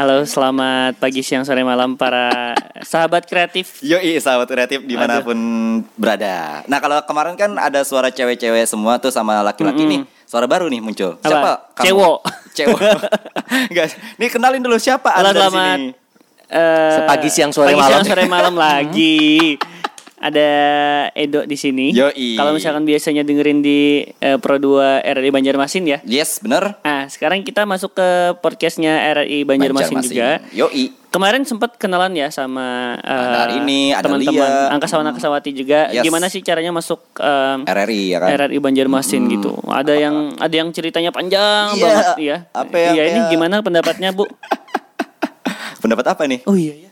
Halo, selamat pagi, siang, sore, malam para sahabat kreatif. Yoi, sahabat kreatif dimanapun berada. Nah kalau kemarin kan ada suara cewek-cewek semua tuh sama laki-laki nih. Suara baru nih muncul. Apa? Siapa? Cewo. Cewo. Enggak. Nih kenalin dulu siapa Anda Halo, di selamat sini. eh, Sepagi, siang, sore, pagi, siang, malam. sore, malam lagi. Ada Edo di sini. Yoi. Kalau misalkan biasanya dengerin di eh, Pro 2 RRI Banjarmasin ya. Yes, bener. Nah, sekarang kita masuk ke podcastnya RRI Banjarmasin, juga. Yoi. Kemarin sempat kenalan ya sama eh, Ada Arini, ada teman-teman Lia. angkasawan angkasawati juga. Yes. Gimana sih caranya masuk eh, RRI ya kan. Hmm. RRI Banjarmasin gitu. Ada yang ada yang ceritanya panjang Iya, banget ya. apa yang iya ini kayak- gimana pendapatnya, Bu? Pendapat apa nih? Oh iya ya.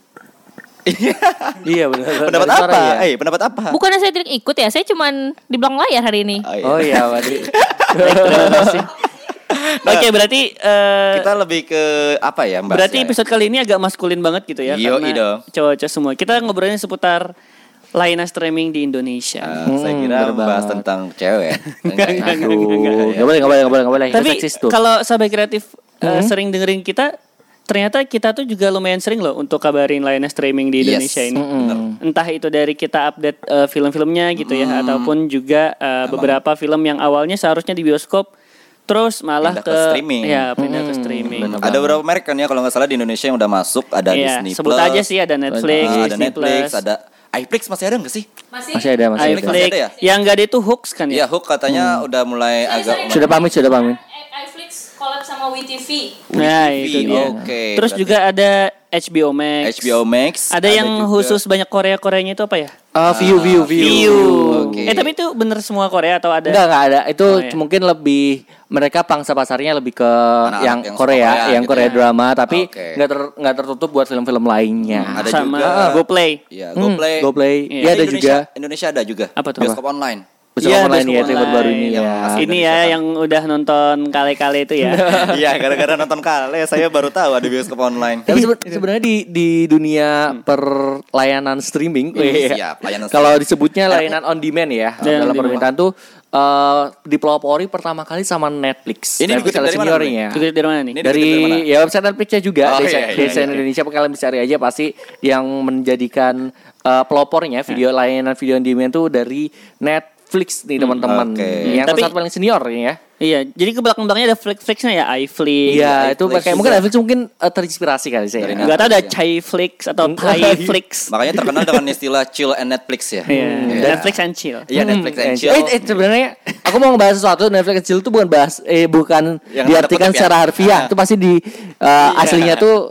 Iya benar. Pendapat Dari suara apa? ya? Eh, pendapat apa? Ah, Bukannya saya tidak ikut ya, saya cuman di belakang layar hari ini. Oh iya berarti. Terima kasih. Oke, berarti eh, Nah, Kita lebih ke apa ya, Mbak? berarti Ya? episode kali ini agak maskulin banget gitu ya Yoi dong. karena cowok-cowok semua. Kita ngobrolnya seputar layanan streaming di Indonesia. Eh, saya kira bener membahas banget. tentang cewek. Hmm, enggak, Aduh, nggak boleh nggak boleh nggak boleh nggak boleh. Itu ya. Tapi seksis tuh. kalau sahabat kreatif eh, Mm-hmm. sering dengerin kita, ternyata kita tuh juga lumayan sering loh untuk kabarin layanan streaming di Yes. Indonesia ini. Mm-mm. Bener. Entah itu dari kita update eh, film-filmnya gitu ya, ataupun juga eh, beberapa film yang awalnya seharusnya di bioskop, terus malah Pindah ke streaming. ya pindah ke streaming. Ada beberapa merek kan ya kalau nggak salah di Indonesia yang udah masuk ada Iya, Disney sebut Plus, aja sih ada Netflix, ada Disney Netflix, Plus, ada iFlix masih ada nggak sih? Masih ada masih ada. Netflix iFlix. ada ya? Yang gak ada itu hoax kan Iya, ya? Hook katanya udah mulai agak Sudah pamit sudah pamit. iFlix collab sama WeTV. Nah, Wih, itu dia. oke, terus berarti- juga ada HBO Max. HBO Max. Ada yang juga- khusus banyak Korea-Koreanya itu apa ya? Ah, view view view. View. Oke. Eh tapi itu bener semua Korea atau ada? Enggak enggak ada. Itu Oh, iya. mungkin lebih mereka pangsa pasarnya lebih ke Anak-anak yang, yang suka Korea, Korea yang gitu Korea ya. drama, tapi Oke. Hmm. nggak ter, nggak tertutup buat film-film lainnya. Ada Sama juga. GoPlay. Iya, Hmm, GoPlay. GoPlay. Iya. Iya, ada Indonesia, juga. Indonesia ada juga. Apa tuh? Bioskop online. Besok Iya, online Besok ya, yang baru ini Online. ya. Yang Ini ya yang udah nonton kale-kale itu ya. Iya, gara-gara nonton Kale saya baru tahu ada bioskop online. Tapi sebe- sebenarnya di di Hmm. dunia perlayanan streaming, iya. Siap, layanan kalau disebutnya layanan on demand Layanan Iya, ya on dalam demand. permintaan tuh eh, dipelopori pertama kali sama Netflix. Ini Netflix ya. dikutip ada dari mana, seniornya. Bang? Dikutip dari mana nih? Ini dikutip dari dari mana? ya website Netflixnya juga Oh, di iya, iya, Desain iya. Indonesia kalian bisa cari aja pasti yang menjadikan eh, pelopornya Iya. video layanan video on demand tuh dari Netflix nih teman-teman. Hmm, oke. Yang Tapi- salah satu paling senior ya. Iya, jadi ke belakang-belakangnya ada Flix-Flixnya ya, iFlix. Iya, Netflix itu pakai mungkin juga. Netflix mungkin eh, terinspirasi kali saya. Iya, Dari Enggak tahu ada Netflix, ya. Chai Flix atau Enggak. Iya. Thai Flix. Makanya terkenal dengan istilah chill and Netflix ya. Iya, Iya. Netflix and chill. Iya, Netflix and chill. Eh, eh, sebenarnya aku mau ngebahas sesuatu Netflix kecil itu bukan bahas eh bukan Yang tanda kutip ya? diartikan Iya. secara harfiah, itu pasti di eh, aslinya tuh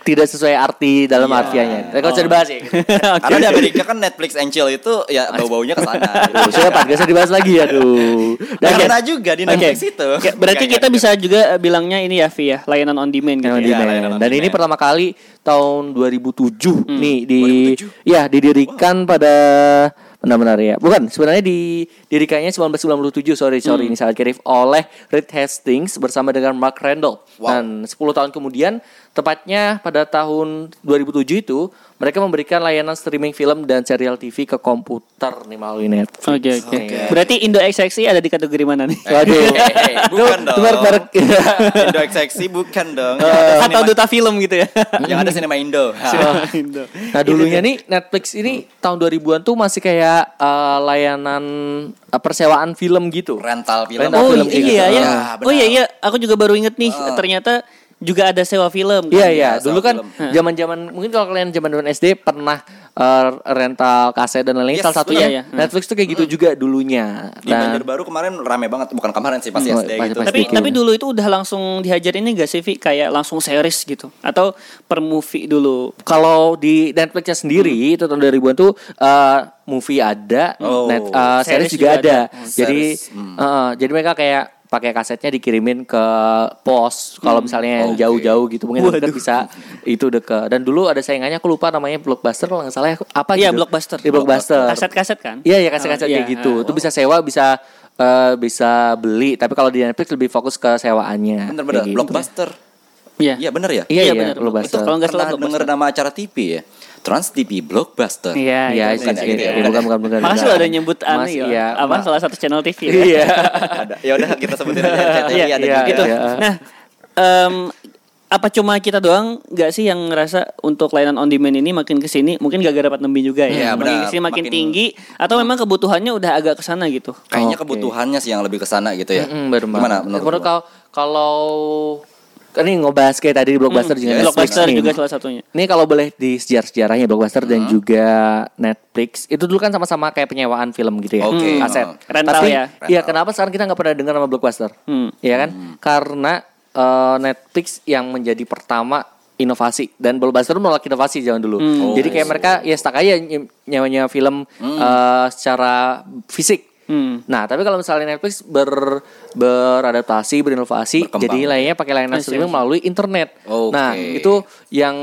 tidak sesuai arti dalam harfiahnya. Tapi kalau Oh. bisa dibahas ya. Gitu. Karena di Amerika kan Netflix and chill itu ya bau-baunya ke sana. Aduh, Sudah Pak, gak usah dibahas lagi aduh. Dan Nah, ya, karena juga di Netflix Oke. itu. Oke, Berarti Enggak, kita enggak, bisa juga eh, bilangnya ini ya, Vi ya, layanan on demand gitu. ya. on Iya, demand. layanan Hmm, on Dan ini demand. pertama kali tahun 2007 nih di ya didirikan pada benar-benar ya. Bukan, sebenarnya didirikannya 1997, sorry Hmm. sorry ini salah kirim oleh Reed Hastings bersama dengan Mark Randall. Wow. Dan 10 tahun kemudian tepatnya pada tahun 2007 itu mereka memberikan layanan streaming film dan serial TV ke komputer nih ya. melalui Netflix. Oke, oke. Berarti Indo XXI ada di kategori mana nih? Waduh. eh, bukan Itu dong. merek-merek. Indo seksi bukan dong. Eh, Yang ada Atau sinema- duta film gitu ya. Yang ada sinema Indo. Indo. Nah dulunya nih Netflix ini tahun 2000-an tuh masih kayak eh, layanan eh, persewaan film gitu. Rental film. Rental Oh film iya, iya, kayak gitu. Ah. iya. Ah, benar. oh iya iya, aku juga baru inget nih ternyata juga ada sewa film. kan? Iya iya, Iya, dulu sama kan zaman-zaman mungkin kalau kalian zaman-zaman SD pernah eh, rental kaset dan lain-lain Yes, salah satunya benar, iya. Netflix tuh kayak gitu juga dulunya. Di Banjarbaru kemarin rame banget, bukan kemarin sih pasti Hmm, SD pasti- gitu. pasti. Tapi Sedikit. tapi dulu itu udah langsung dihajar ini gak sih Vi? Kayak langsung series gitu atau per movie dulu. kalau di Netflixnya sendiri itu tahun 2000-an tuh eh, movie ada, Hmm. Oh. net- eh, Series series juga juga ada. ada. Jadi Series, Hmm. eh, jadi mereka kayak pakai kasetnya dikirimin ke pos kalau misalnya Hmm. yang Oke. jauh-jauh gitu mungkin deket bisa itu deket dan dulu ada saingannya aku lupa namanya blockbuster kalau nggak salah ya, apa Iya, gitu Blockbuster. Iya, blockbuster Kaset-kaset kan? Iya ya Oh, kaset-kaset iya. kayak gitu. Itu bisa sewa, bisa eh, bisa beli. Tapi kalau di Netflix lebih fokus ke sewaannya. Bener-bener, kayak gitu. blockbuster. Iya. Iya bener ya? Iya Iya, iya, benar, blockbuster. Itu kalau nggak salah Pernah denger Blockbuster. nama acara TV ya? Trans TV Blockbuster. Iya, Iya, itu. itu bukan gitu ya, bukan, bukan, bukan, bukan. Makasih lo udah nyebut anu Mas, ya. iya, apa Ma- salah satu channel TV. ya? Iya. ada. Ya udah kita sebutin aja CTI Iya, ada iya, juga. gitu. iya. Nah, em, apa cuma kita doang nggak sih yang ngerasa untuk layanan on demand ini makin kesini mungkin gak dapat nembi juga ya, Iya, makin benar. kesini makin, Makin- tinggi atau memang kebutuhannya udah agak kesana gitu Kayaknya Oke. kebutuhannya sih yang lebih ke sana gitu ya. Mm, baru Gimana menurut menurut lu? kalau kalau kan ini ngebahas kayak tadi di blockbuster juga Iya, Netflix blockbuster nih. juga salah satunya Ini kalau boleh di sejarah-sejarahnya Blockbuster dan juga Netflix Itu dulu kan sama-sama kayak penyewaan film gitu ya Oke, Aset heeh. Rental Tapi, ya. Iya kenapa sekarang kita nggak pernah dengar sama Blockbuster Hmm. Iya kan Karena eh, Netflix yang menjadi pertama inovasi dan Blockbuster menolak inovasi zaman dulu. Hmm. Oh, Jadi I see. kayak Hmm. mereka ya stuck aja ny- nyewanya film eh, secara fisik. Hmm. Nah, tapi kalau misalnya Netflix ber beradaptasi, berinovasi, Berkembang. jadi lainnya pakai layanan streaming melalui internet. Oke. Nah, itu yang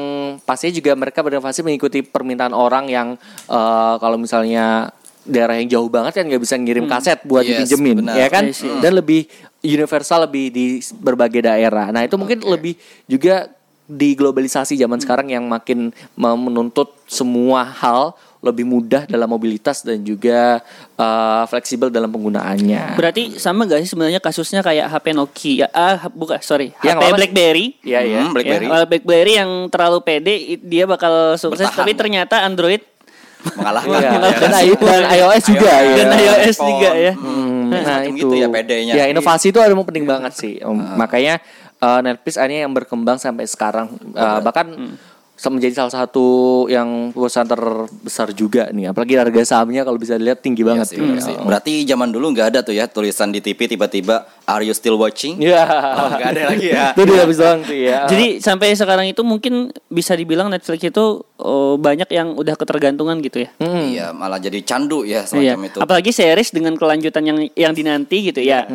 pastinya juga mereka berinovasi mengikuti permintaan orang yang eh, kalau misalnya daerah yang jauh banget kan nggak bisa ngirim kaset buat Hmm. Yes, dipinjemin, benar. Iya ya kan? I see. Dan lebih universal lebih di berbagai daerah. Nah, itu mungkin lebih juga di globalisasi Hmm. zaman sekarang yang makin mem- menuntut semua hal lebih mudah dalam mobilitas dan juga eh, fleksibel dalam penggunaannya. berarti sama gak sih sebenarnya kasusnya kayak HP Nokia ah bukan sorry HP Yang apa? Blackberry Iya, iya. Hmm, BlackBerry Ya, kalau BlackBerry yang terlalu pede i- dia bakal sukses Bertahan. tapi ternyata Android Eh. mengalahkan. Iya, ya Iya, dan, kan? I- dan iOS juga iOS. ya. dan iPhone. iOS juga ya. Hmm, nah semacam itu gitu ya Iya. PD-nya. Ya, inovasi itu ada mau penting banget sih. Om. Ah. Makanya eh, Netflix akhirnya yang berkembang sampai sekarang Eh, bahkan Hmm. se- menjadi salah satu yang perusahaan terbesar juga nih. Apalagi harga sahamnya kalau bisa dilihat tinggi Iya banget sih, benar sih. Berarti zaman dulu nggak ada tuh ya tulisan di TV tiba-tiba Are you still watching? Iya. Oh, nggak ada lagi ya. itu dia habis doang tuh ya. Jadi sampai sekarang itu mungkin bisa dibilang Netflix itu oh, banyak yang udah ketergantungan gitu ya. Iya, malah jadi candu ya Iya. semacam itu. Apalagi series dengan kelanjutan yang yang dinanti gitu ya.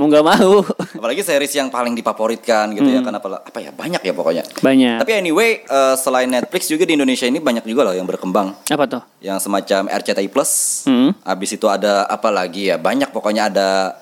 Mau nggak mau Apalagi series yang paling difavoritkan gitu ya kan apa, apa ya banyak ya pokoknya. banyak. Tapi anyway, eh, selain Netflix juga di Indonesia ini banyak juga loh yang berkembang. Apa tuh? yang semacam RCTI Plus. Hmm. Habis itu ada apa lagi ya? Banyak pokoknya ada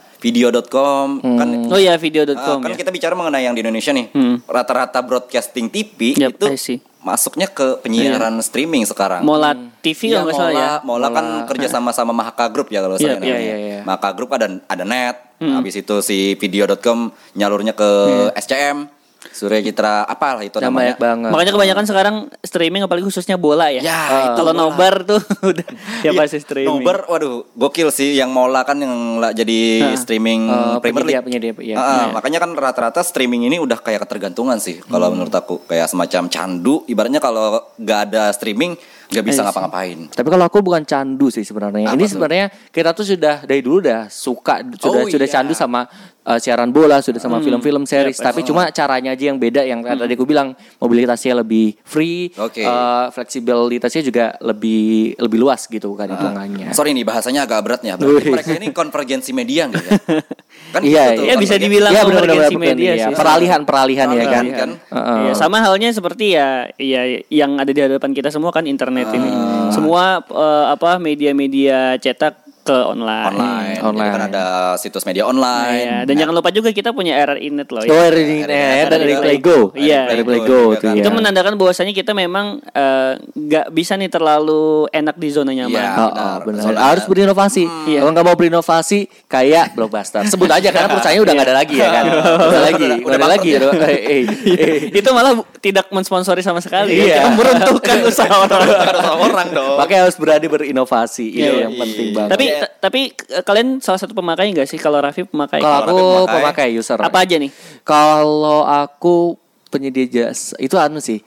video.com kan Oh ah, ya video.com kan ya. kita bicara mengenai yang di Indonesia nih. Rata-rata broadcasting TV Yap, itu I see. Iya. masuknya ke penyiaran streaming sekarang. Mola TV Iya, kalau nggak salah ya. Mola- Mola kan kerja sama sama Mahaka Group ya kalau Iya, saya iya, Hmm. namanya. iya, iya. Mahaka Group ada ada net. Habis itu si video.com nyalurnya ke Iya. SCM. Surya Citra apalah itu Nah, namanya. ya? banyak banget. Makanya kebanyakan sekarang streaming apalagi khususnya bola ya. Ya, itu kalau bola. nobar tuh udah Iya, ya pasti streaming. Nobar, waduh, gokil sih yang Mola kan yang la- jadi streaming Eh, Premier penyedia- League. penyedia, iya. Ah, ah, Makanya kan rata-rata streaming ini udah kayak ketergantungan sih kalau Hmm. menurut aku kayak semacam candu. Ibaratnya kalau nggak ada streaming nggak Iya bisa ngapa-ngapain. Tapi kalau aku bukan candu sih sebenarnya. Apa ini tuh? sebenarnya kita tuh sudah dari dulu udah suka sudah Oh, sudah iya. Hmm. candu sama uh, siaran bola, sudah sama film-film series, tapi cuma caranya aja yang beda yang tadi aku bilang mobilitasnya lebih free, Oke. uh, fleksibilitasnya juga lebih lebih luas gitu Ah. kan hitungannya. Sorry nih bahasanya agak berat ya. Berarti Wih. mereka ini konvergensi media nggak ya? Kan Iya, gitu tuh, Ya bisa konvergensi. dibilang Iya, benar-benar konvergensi bukan, media iya. sih. Peralihan, peralihan ya kan. Oh, Peralihan. Heeh. Ah. Iya, sama halnya seperti ya, ya yang ada di hadapan kita semua kan internet ini. Ah. Semua eh, apa media-media cetak ke online. online. Hmm, online. Iya. Jadi kan ada situs media Nah, online. ya. Dan jangan lupa juga kita punya RRInet loh. Oh, Ya. dari, eh, Iya, Ada dari Lego. Lego. Iya. dari Lego Lego juga tuh kan. ya. Itu menandakan bahwasannya kita memang eh, nggak bisa nih terlalu enak di zona nyaman. Iya. Oh, benar. oh, benar. Hmm. Soalnya- Harus berinovasi. Iya. Kalau nggak mau berinovasi, kayak blockbuster. Sebut aja karena perusahaannya udah nggak ada lagi ya kan. Udah ada lagi, Udah- udah udah ada lagi. bangkrut Udah- eh, eh, eh. Itu malah bu- tidak mensponsori sama sekali. Kita Iya. meruntuhkan usaha orang. Harus sama orang dong. Makanya harus berani berinovasi. Itu Iya, iya. yang penting banget. tapi ta- tapi eh, kalian salah satu pemakai nggak sih kalau Raffi pemakai? kalau aku Kalau aku pemakai user. apa aja nih? Kalau aku penyedia jasa itu anu sih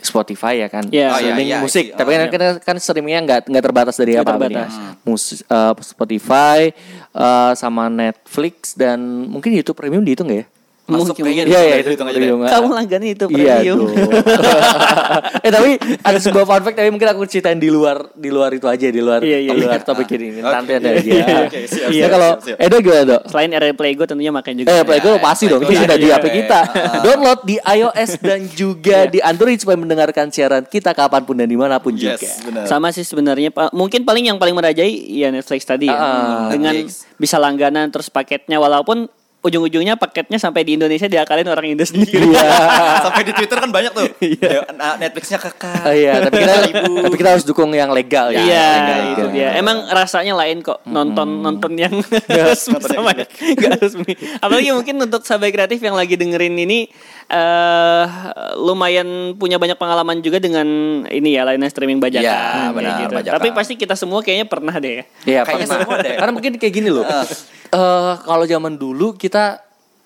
Spotify ya kan, Iya. Oh, iya, streaming iya, musik. iya. Tapi kan, kan, kan streamingnya nggak nggak terbatas dari Nggak apa apa terbatas. Mus, eh, Spotify eh, sama Netflix dan mungkin YouTube Premium dihitung nggak ya? Masuk gitu, Mungkin- kayaknya di- Iya, iya, hitung aja deh. premium. Kamu langganan itu Iya premium. dong. eh tapi ada sebuah fun fact tapi mungkin aku ceritain di luar di luar itu aja di luar Iya, iya, di luar iya. topik Ah, ini oke. nanti ada aja. Iya, oke, siap, Nah, siap, kalau siap, siap. Edo gimana Dok? Selain RPlay Go tentunya makan juga. Eh, Playgo Ya, pasti dong. Playgo Ini ya, sudah di iya, HP iya. kita. Ah. Download di iOS dan juga di Android supaya mendengarkan siaran kita kapanpun dan dimanapun Yes, juga. benar. Sama sih sebenarnya Pak. mungkin paling yang paling merajai ya Netflix tadi ya. Ah, Hmm. dengan Netflix. bisa langganan terus paketnya walaupun ujung-ujungnya paketnya sampai di Indonesia diakalin orang Indo sendiri. Iya. Iya. Sampai di Twitter kan banyak tuh. Ya, nah, Netflixnya kakak. Oh iya, tapi kita, tapi kita harus dukung yang legal ya. Iya, Legal. itu dia. Emang rasanya lain kok Hmm. nonton nonton yang resmi Nonton yang sama yang nggak resmi. Apalagi mungkin untuk sahabat kreatif yang lagi dengerin ini eh lumayan punya banyak pengalaman juga dengan ini ya lainnya streaming bajakan. Iya, kayak benar, gitu. bajakan. Tapi pasti kita semua kayaknya pernah deh. ya. Iya, Kayaknya pernah. semua deh. Karena mungkin kayak gini loh. Eh kalau zaman dulu kita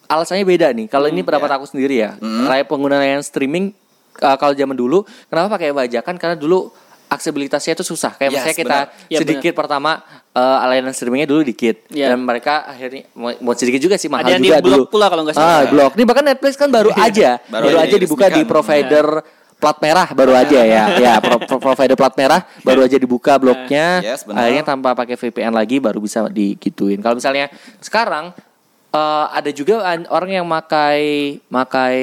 alasannya beda nih. Kalau ini pendapat aku sendiri ya. Kayak penggunaan streaming eh, kalau zaman dulu kenapa pakai bajakan? Karena dulu aksesibilitasnya itu susah. Kayak Yes, misalnya kita benar. Iya, sedikit pertama eh layanan streamingnya dulu dikit Iya. dan mereka akhirnya mau, mau sedikit juga sih mahal Ada yang juga di-block dulu. pula kalau nggak salah. Ah, blok. Ini bahkan Netflix kan baru aja Baru baru, aja aja dibuka di diresmikan. provider plat merah baru aja ya. Ya, pro- pro- provider plat merah baru aja dibuka bloknya. Yes, benar. akhirnya tanpa pakai VPN lagi baru bisa digituin. Kalau misalnya sekarang eh, ada juga an- orang yang makai makai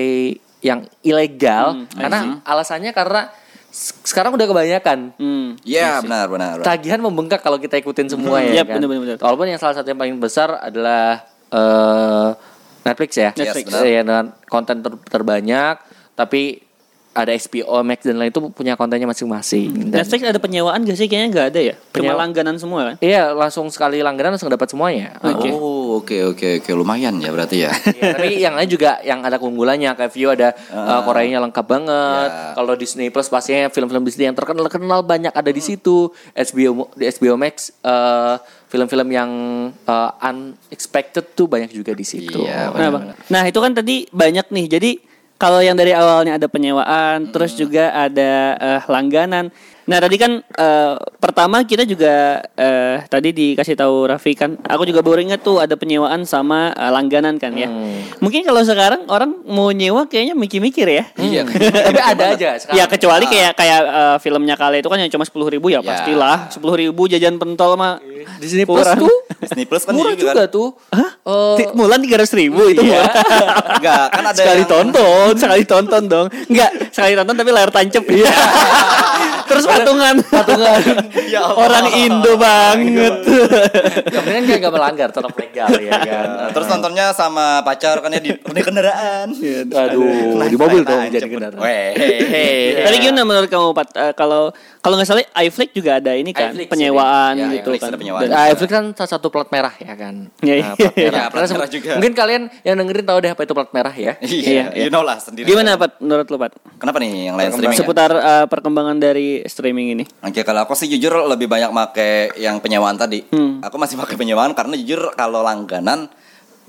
yang Hmm, ilegal karena alasannya karena se- sekarang udah kebanyakan Hmm. Iya, benar, benar. benar. tagihan membengkak kalau kita ikutin semua ya Yap, kan. bener-bener. Walaupun yang salah satu yang paling besar adalah eh, Netflix ya. Netflix. Yes, benar. Ya, dengan konten ter- terbanyak tapi ada HBO Max dan lain itu punya kontennya masing-masing. Dan- Hmm. Netflix ada penyewaan gak sih? Kayaknya nggak ada ya. Cuma Penyewa- langganan semua kan. Iya, langsung sekali langganan langsung dapat semuanya. Oke. Oh, oke oke oke lumayan ya berarti ya. Iya, tapi yang lain juga yang ada keunggulannya kayak View ada uh, Koreanya lengkap banget. Ya. Kalau Disney Plus pastinya film-film Disney yang terkenal terkenal banyak ada di situ. HBO mo- di HBO Max eh, film-film yang eh, unexpected tuh banyak juga di situ. Iya, Nah, Bang. Nah, itu kan tadi banyak nih. Jadi kalau yang dari awalnya ada penyewaan, terus Hmm. juga ada eh, langganan. Nah, tadi kan eh, pertama kita juga eh, tadi dikasih tahu Raffi kan, aku juga baru ingat tuh ada penyewaan sama eh, langganan kan ya. Hmm. Mungkin kalau sekarang orang mau nyewa kayaknya mikir-mikir ya. Iya. tapi ada aja iya, sekarang. Ya kecuali kayak kayak eh, filmnya kali itu kan yang cuma sepuluh ribu ya Iya. Ya. pastilah sepuluh ribu jajan pentol mah Disney Plus kurang. tuh Disney Plus kan murah juga juga kan. tuh. Eh, Ti- Mulan tiga ratus ribu itu Iya. murah. Enggak, kan ada sekali yang- tonton, sekali tonton dong. Enggak, sekali tonton tapi layar tancep. Iya. Terus patungan. Patungan. Ya Allah. Orang Indo banget. yang penting kan nggak melanggar tetap legal ya kan. eh, Terus nontonnya sama pacar kan ya di, di kendaraan. Iya, Nah, Aduh, Iya. Oh, di mobil dong jadi kendaraan. Weh, hei, hei. Iya. Tadi gimana menurut kamu Pat? Eh, kalau kalau nggak salah iFlix juga ada ini kan iFlix, penyewaan ini. Ya, gitu iFlix kan. ada penyewaan. Dan- Dan ah, Netflix kan salah satu plat merah ya kan. Iya, Nah, iya. plat Iya, plat Karena merah se- juga. Mungkin kalian yang dengerin tahu deh apa itu plat merah ya. Iya, Iya, you know lah sendiri. Gimana Pat menurut lo Pat? Kenapa nih yang lain streaming? ya? Seputar eh, perkembangan dari streaming ini. Oke, kalau aku sih jujur lebih banyak make yang penyewaan tadi. Hmm. Aku masih pakai penyewaan karena jujur kalau langganan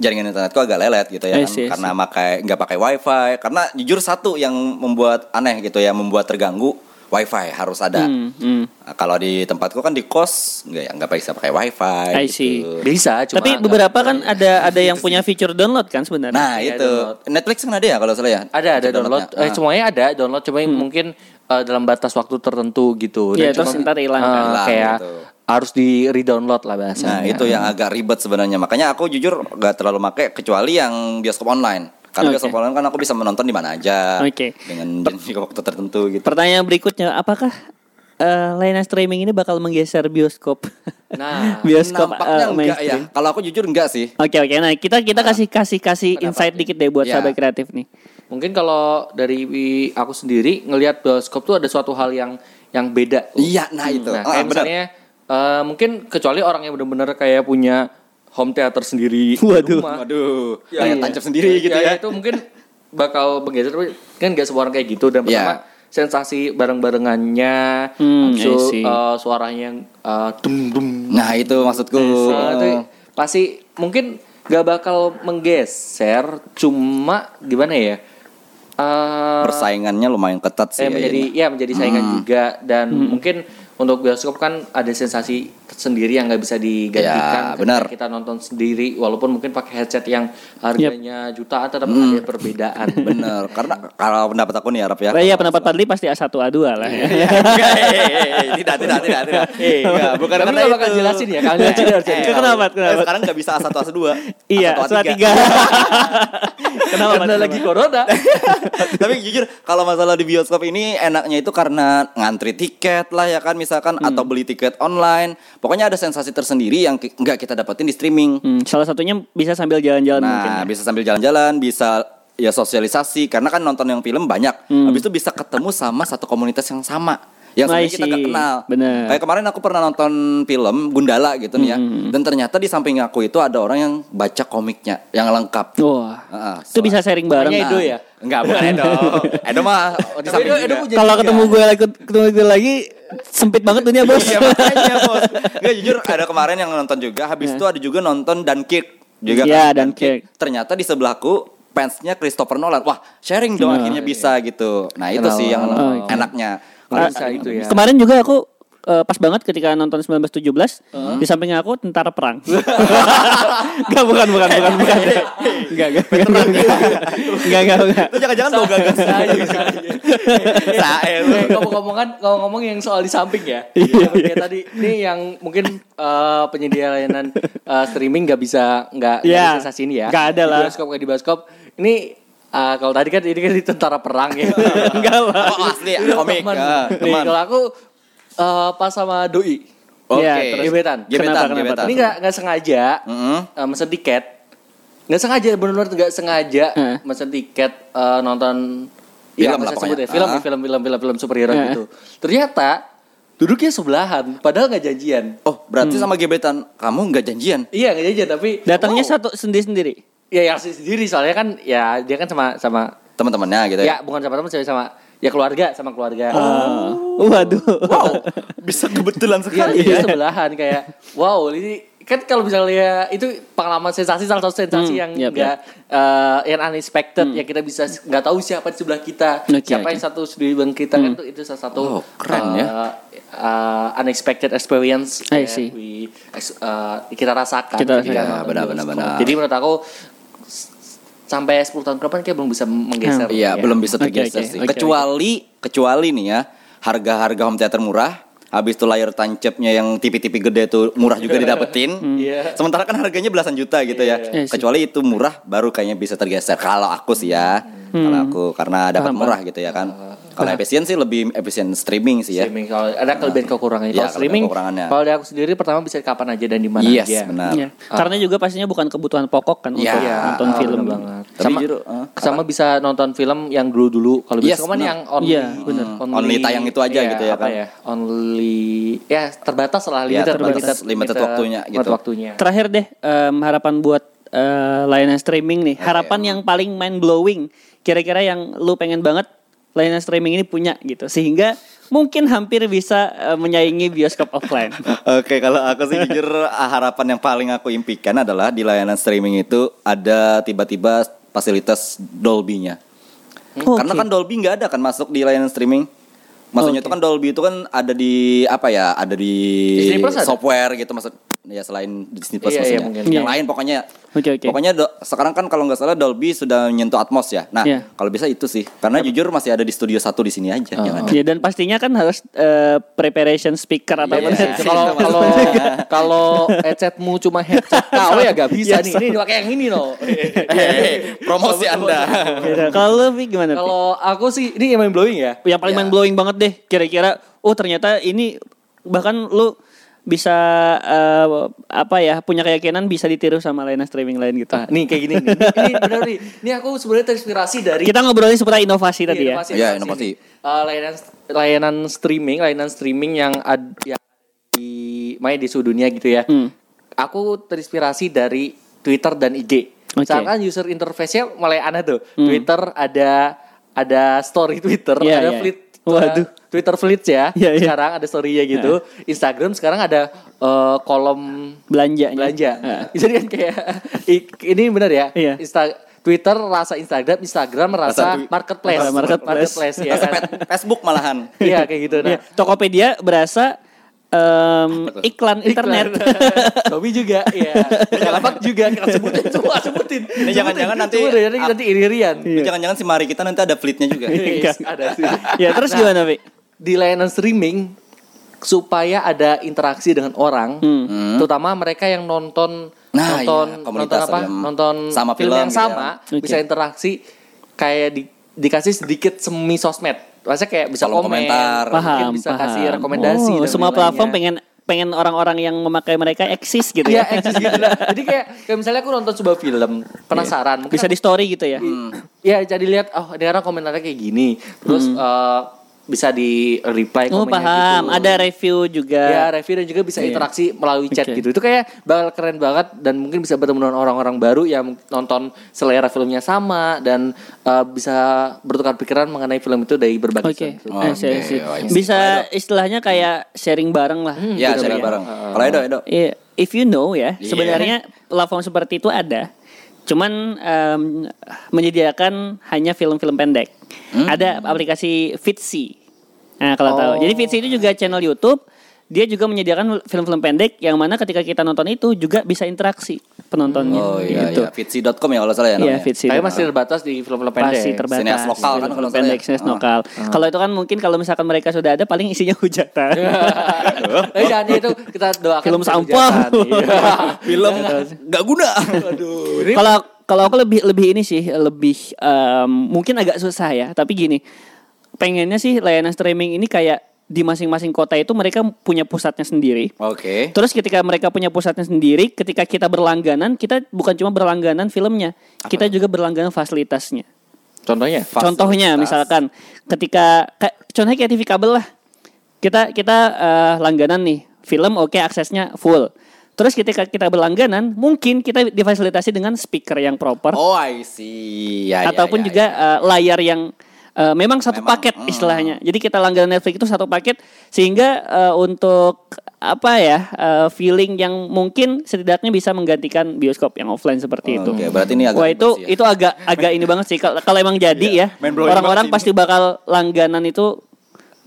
jaringan internetku agak lelet gitu ya I kan. see, I karena pakai nggak pakai wifi karena jujur satu yang membuat aneh gitu ya membuat terganggu wifi harus ada Hmm, hmm. Nah, kalau di tempatku kan di kos nggak ya nggak bisa pakai wifi I see. gitu Bisa, cuma Tapi nggak- beberapa kan ada ada yang punya fitur download kan sebenarnya. nah Iya, itu Netflix kan ada ya kalau salah ya ada ada download. Downloadnya. Eh, Ah. semuanya ada download cuma Hmm. yang mungkin eh, dalam batas waktu tertentu gitu. Iya, Dan terus cuma- ntar hilang kan. eh, Hilang kayak gitu. harus di redownload lah bahasanya. Nah itu yang agak ribet sebenarnya Makanya aku jujur gak terlalu make Kecuali yang bioskop online Karena Oke. bioskop online kan aku bisa menonton di mana aja Oke. Dengan jenis waktu tertentu gitu Pertanyaan berikutnya, apakah eh, layanan streaming ini bakal menggeser bioskop? Nah, bioskop Nampaknya eh, enggak ya mainstream. Kalau aku jujur enggak sih Oke oke, nah kita kita kasih kasih kasih insight dikit deh buat Ya. sahabat kreatif nih. mungkin kalau dari aku sendiri ngelihat bioskop tuh ada suatu hal yang yang beda. Iya nah itu Nah, Ah, kayak benar. misalnya eh, mungkin kecuali orang yang benar-benar kayak punya home theater sendiri di rumah. Waduh Ya, Kayak iya. tancap sendiri gitu ya, Itu mungkin bakal menggeser tapi kan gak semua orang kayak gitu dan pertama Ya. sensasi bareng-barengannya, iya Hmm, habis itu, I see. eh, suaranya yang eh, dum dum. Nah itu maksudku Nah, itu pasti mungkin gak bakal menggeser cuma gimana ya? eh, Persaingannya lumayan ketat sih eh, menjadi kayaknya. ya menjadi saingan Hmm. juga dan mungkin untuk bioskop kan ada sensasi tersendiri yang nggak bisa digantikan Ya, ketika benar. kita nonton sendiri walaupun mungkin pakai headset yang harganya jutaan tetap ada Hmm. perbedaan Bener Karena kalau pendapat aku nih Arab Oh, ya Lah, Iya pendapat Padli pasti A1 A2 lah ya. Enggak, eh, eh, eh, Tidak tidak tidak tidak Enggak, Bukan Kami karena Iya. nggak bakal itu. jelasin ya, kami jelasin harus Eh, jadi tahu. Kenapa, kenapa? Sekarang nggak bisa A1 A2. Iya, A1 A1 A3. A3. Kenapa? karena Pat? lagi corona Tapi jujur kalau masalah di bioskop ini enaknya itu karena ngantri tiket lah ya kan misalkan Hmm. atau beli tiket online. Pokoknya ada sensasi tersendiri yang ki- nggak kita dapetin di streaming. Hmm, salah satunya bisa sambil jalan-jalan mungkin. Nah, ya. bisa sambil jalan-jalan, bisa ya sosialisasi karena kan nonton yang film banyak. Hmm. Habis itu bisa ketemu sama satu komunitas yang sama yang I sebenarnya kita nggak see. kenal. Bener. Kayak kemarin aku pernah nonton film Gundala gitu nih ya. Hmm, Dan ternyata di samping aku itu ada orang yang baca komiknya yang lengkap. Wah. Heeh, itu soal- bisa sharing bareng. Makanya Edo ya? Enggak, bukan Edo. Edo mah di samping juga. Kalau ketemu gue lagi ketemu gue lagi sempit banget dunia bos. Iya makanya bos. Iya. Nggak, jujur ada kemarin yang nonton juga. Habis itu ada juga nonton Dunkirk juga. Iya, kan, Dunkirk. Ternyata di sebelahku fansnya Christopher Nolan. Wah sharing dong akhirnya bisa gitu. Nah itu Kenal. sih yang Oh, iya. enaknya. Ah, Kalau bisa itu ya. Kemarin juga aku eh, pas banget ketika nonton 1917 di samping aku tentara perang. Enggak bukan bukan bukan bukan. Enggak enggak. Enggak enggak enggak. Itu jangan-jangan boga Iya. gas aja. Iya, Sae lu. Eh, ngomong-ngomong kan ngomong yang soal di samping ya. Iya. Kayak tadi ini yang mungkin eh, penyedia layanan eh, streaming nggak bisa nggak nggak Iya. bisa sini ya. Nggak ada lah. Di bioskop nggak di bioskop. Ini eh, kalau tadi kan ini kan di tentara perang ya. Enggak lah. Oh asli ada komik. Teman. Ah, Nih, Teman. kalau aku eh, pas sama doi. Oke. Iya, terus- Gebetan. Gebetan. Kenapa, kenapa? gebetan. Ini nggak nggak sengaja Mm-mm. eh, mesen tiket. Nggak sengaja benar-benar nggak sengaja Heeh. mesen tiket eh, nonton Film Iya, lah nggak usah sebut pokoknya. ya, film, Ah. film, film, film, film superhero Heeh. gitu. Ternyata duduknya sebelahan, padahal nggak janjian. Oh berarti sama gebetan kamu nggak janjian? Iya nggak janjian tapi Datangnya Wow. satu sendiri-sendiri. ya yang sendiri soalnya kan ya dia kan sama sama Teman-temannya gitu ya? ya bukan sama teman cewek sama ya keluarga sama keluarga. Ah. Oh. Waduh. Wow, bisa kebetulan Iya, sekali duduknya ya. sebelahan kayak wow ini kan kalau misalnya itu pengalaman sensasi salah satu sensasi Hmm, yang iya, yap, enggak eh, yang unexpected Hmm. yang kita bisa s- nggak tahu siapa di sebelah kita Oke, siapa oke. yang satu di belakang kita kan itu, itu salah Oh, satu keren ya. eh, eh, unexpected experience I that see. we ex- eh, kita rasakan Kita rasakan. ketika nonton Iya, benar, bioskop. benar, benar. jadi menurut aku s- sampai 10 tahun ke depan kayak belum bisa menggeser Iya, Ya. belum bisa Oke, tergeser oke, sih. oke, kecuali kecuali nih ya, harga-harga home theater murah, habis itu layar tancapnya yang tipi-tipi gede tuh murah juga didapetin. Iya. Sementara kan harganya belasan juta gitu ya. Hmm. Iya sih. Kecuali itu murah baru kayaknya bisa tergeser kalau aku sih ya. Hmm. Kalau aku karena dapat Paham, murah gitu ya kan. Kalau efisien sih lebih efisien streaming sih ya. streaming kalau ada kelebihan kekurangannya Iya, kelebihan kalau streaming kekurangannya. kalau dari aku sendiri pertama bisa kapan aja dan di mana Yes, aja benar. Iya. Karena juga pastinya bukan kebutuhan pokok kan Iya. untuk nonton ah, film. bener banget. Tapi sama jujur, eh, sama bisa nonton film yang dulu dulu kalau Yes, biasa kan benar. yang only, Hmm, Iya, benar. Only tayang itu aja gitu ya apa kan. ya only ya terbatas lah Iya, limited terbatas, limited, limited waktunya gitu. limited waktunya Terakhir deh em, harapan buat eh, layanan streaming nih. Harapan yang paling mind blowing. Kira-kira yang lu pengen banget layanan streaming ini punya gitu sehingga mungkin hampir bisa eh, menyaingi bioskop offline. Oke, kalau aku sih jujur ah, harapan yang paling aku impikan adalah di layanan streaming itu ada tiba-tiba fasilitas Dolby-nya. Hmm. Oke. Karena kan Dolby nggak ada kan masuk di layanan streaming. Maksudnya itu kan Dolby itu kan ada di apa ya? Ada di Disney Plus ada? software gitu maksud ya selain Disney Plus Iya, iya, maksudnya. mungkin. Yang Iya. lain pokoknya. Oke, oke. Pokoknya do- sekarang kan kalau nggak salah Dolby sudah menyentuh Atmos ya. Nah, Iya. kalau bisa itu sih. Karena jujur masih ada di studio satu di sini aja yang ada. Ya dan pastinya kan harus eh, preparation speaker atau Iya, apa iya. sih. kalau kalau kalau headsetmu cuma headset KW ya gak bisa Iya, nih ini pakai yang ini loh Iya, Hehehe, promosi Anda. Gitu. Kalau lu Pi, gimana? Pi? kalau aku sih ini yang main blowing ya yang paling mind blowing banget deh kira-kira oh ternyata ini bahkan lu bisa eh, apa ya punya keyakinan bisa ditiru sama layanan streaming lain gitu. Nah, Ah, nih kayak gini nih. Ini benar nih. Ini aku sebenarnya terinspirasi dari Kita ngobrolin seputar inovasi tadi ya. Iya, inovasi. Eh, layanan layanan streaming, layanan streaming yang ad, yang di main di seluruh dunia gitu ya. Hmm. Aku terinspirasi dari Twitter dan IG. Oke. Hmm. Misalkan user interface-nya mulai aneh tuh. Twitter ada ada story Twitter, Iya, ada iya. feed. Waduh. Twitter Fleets ya. Iya, iya. Sekarang ada story-nya gitu. Instagram sekarang ada eh, kolom Belanjanya. belanja. Jadi kan kayak ik- ini benar ya. Ah. Iya. Insta- Twitter rasa Instagram, Instagram Rasa rasa twi- marketplace. rasa marketplace. ya kan. Facebook malahan. Iya kayak gitu. Nah, Iya, Tokopedia berasa em, iklan internet. Tommy juga, iya. Galapak juga kita sebutin semua sebutin. Ini jangan-jangan nanti- Sebutin, nanti nanti iri-irian. Iya. Jangan-jangan si Mari kita nanti ada fleetnya juga. Enggak. Ada sih. ya terus Nah, gimana, Pi? Di layanan streaming supaya ada interaksi dengan orang, Hmm. terutama mereka yang nonton Hmm. Nah, iya, nonton nonton komunitas apa? yang Nonton sama film yang gitu ya. sama Oke. bisa interaksi kayak di- dikasih sedikit semi sosmed. masa kayak bisa Kolom komen, komentar. mungkin paham bisa paham. kasih rekomendasi. Oh, dan semua lain-lainnya. platform pengen pengen orang-orang yang memakai mereka eksis gitu Iya, ya eksis gitu lah. Jadi kayak kayak misalnya aku nonton sebuah film, penasaran, mungkin bisa di story gitu ya Ya jadi lihat oh ini orang komentarnya kayak gini. Terus eh, bisa di reply Hmm. oh komennya paham gitu. ada review juga Ya review dan juga bisa Iya. interaksi melalui chat Oke. gitu. Itu kayak bakal keren banget dan mungkin bisa bertemu dengan orang-orang baru yang nonton selera filmnya sama dan eh, bisa bertukar pikiran mengenai film itu dari berbagai Oke, sudut. Oh, I see, I see. oke, I see. bisa istilahnya kayak sharing bareng lah. Hmm, Ya, iya, gitu sharing kan. bareng. Kalau Edo, Edo. Iya, if you know ya, Iya. sebenarnya platform seperti itu ada. Cuman em, menyediakan hanya film-film pendek. Ada aplikasi Fitzy. Nah, kalau tahu. Jadi Fitzy itu juga channel YouTube. Dia juga menyediakan film-film pendek yang mana ketika kita nonton itu juga bisa interaksi penontonnya. Oh iya, gitu. iya. Fitzy.com ya kalau salah ya Iya, namanya. Fitzy. Tapi masih terbatas di film-film pendek. Pasti terbatas. Sineas lokal kan Film kalau pendek, saya. sineas Ah. lokal. Kalau itu kan mungkin kalau misalkan mereka sudah ada paling isinya hujatan. Tapi jangan ya, itu kita doakan Film sampah. kesehatan. Iya. Film nggak guna. Aduh. Kalau kalau aku lebih lebih ini sih lebih em, mungkin agak susah ya. Tapi gini, pengennya sih layanan streaming ini kayak di masing-masing kota itu mereka punya pusatnya sendiri. Oke. Terus ketika mereka punya pusatnya sendiri, ketika kita berlangganan, kita bukan cuma berlangganan filmnya, kita juga berlangganan fasilitasnya. Contohnya? Contohnya misalkan ketika kayak- contohnya kayak TV kabel lah. Kita kita eh, langganan nih, film oke aksesnya full. Terus ketika kita berlangganan, mungkin kita difasilitasi dengan speaker yang proper Oh, I see. Ya, ya, ya, ataupun juga eh, layar yang eh, memang satu Memang, paket mm. istilahnya. Jadi kita langganan Netflix itu satu paket sehingga eh, untuk apa ya eh, feeling yang mungkin setidaknya bisa menggantikan bioskop yang offline seperti itu. Oke, berarti ini agak Wah itu ribet sih ya. itu agak agak ini banget sih kalau kalau emang jadi ya main blowing orang-orang banget pasti bakal langganan itu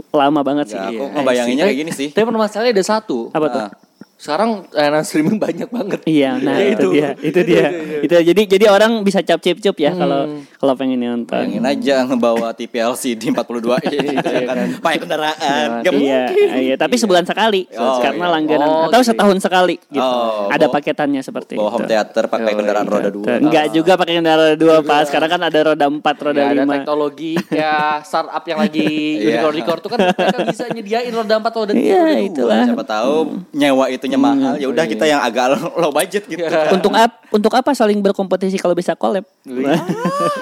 lama banget sih. Ya, aku Iya. Eh, ngebayanginnya kayak gini sih. Tapi permasalahannya ada satu. Apa tuh? Ah. Sekarang layanan streaming banyak banget. Iya, nah itu, dia, itu Iya, dia, itu jadi jadi orang bisa cap cip cup ya kalau Hmm. kalau pengen nonton. Bayangin aja ngebawa TV LCD 42 inch gitu ya kan. Pakai kendaraan. Gak iya, mungkin. iya, tapi sebulan sekali Oh, karena iya. langganan Oh, atau gitu. setahun sekali gitu. Oh, ada bawa- paketannya seperti Bawa home itu. theater pakai kendaraan roda dua. Ah. Iya. Enggak juga pakai kendaraan roda dua pas, sekarang kan ada roda empat, roda Ya, ada lima. teknologi ya startup yang lagi Iya. unicorn record tuh kan mereka bisa nyediain roda 4 roda 3 Iya, roda dua. itulah. Siapa Hmm. tahu nyewa itunya mahal. Ya udah Iya. kita yang agak low budget gitu. untuk apa? Untuk apa saling berkompetisi kalau bisa collab?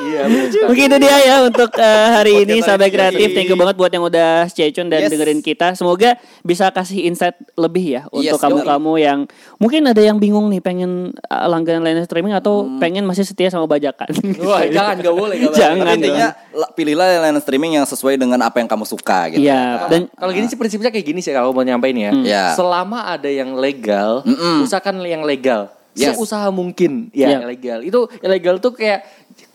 Iya, bener sekali. Mungkin itu dia ya untuk eh, hari Podcast ini hari sampai ini. kreatif. Thank you banget buat yang udah stay tune dan Yes. dengerin kita. Semoga bisa kasih insight lebih ya untuk Yes, kamu-kamu yang mungkin ada yang bingung nih pengen eh, langganan layanan streaming atau Hmm. pengen masih setia sama bajakan. Wah, jangan gak boleh gak boleh. Jangan. Tapi intinya la- pilihlah layanan streaming yang sesuai dengan apa yang kamu suka gitu. Iya, dan Kalau gini sih prinsipnya kayak gini sih kalau mau nyampein ya. Hmm. Iya. Selama ada yang legal, Mm-mm. usahakan yang legal. Yes. Seusaha mungkin Iya. ya yang legal. Itu yang legal tuh kayak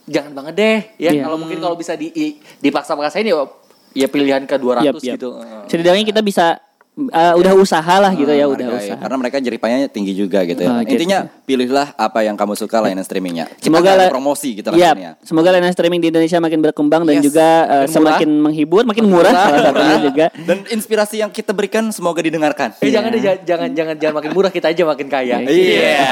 jangan banget deh ya Iya. kalau mungkin kalau bisa di i- dipaksa-paksain ya ya pilihan ke 200 Yap, yap. gitu. Heeh. Setidaknya kita bisa uh, udah usaha lah gitu ya, udah Hargai. usaha. Karena mereka jeripayanya tinggi juga gitu ya. Ah, gitu. Intinya pilihlah apa yang kamu suka layanan streamingnya. Kita Semoga nggak ada la- Iya. promosi gitu Yap, lainnya. semoga layanan streaming di Indonesia makin berkembang dan Yes. juga uh, Makin semakin menghibur, makin murah murah, salah satunya juga. Dan inspirasi yang kita berikan semoga didengarkan. Eh jangan Iya. deh jangan jangan jangan, jangan makin murah kita aja makin kaya. Iya.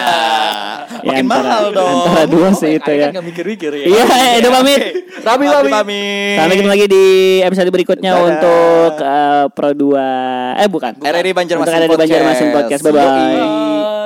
Ya, Makin antara- mahal dong. Antara dua sih Kaya itu ya. kan nggak mikir-mikir ya. Iya, Edo pamit. Rami Rami. Sampai ketemu lagi di episode berikutnya Dadah. untuk uh, Pro 2 eh bukan. RRI Banjarmasin Untuk RRI Banjarmasin Podcast. Podcast. Bye bye. Yoi.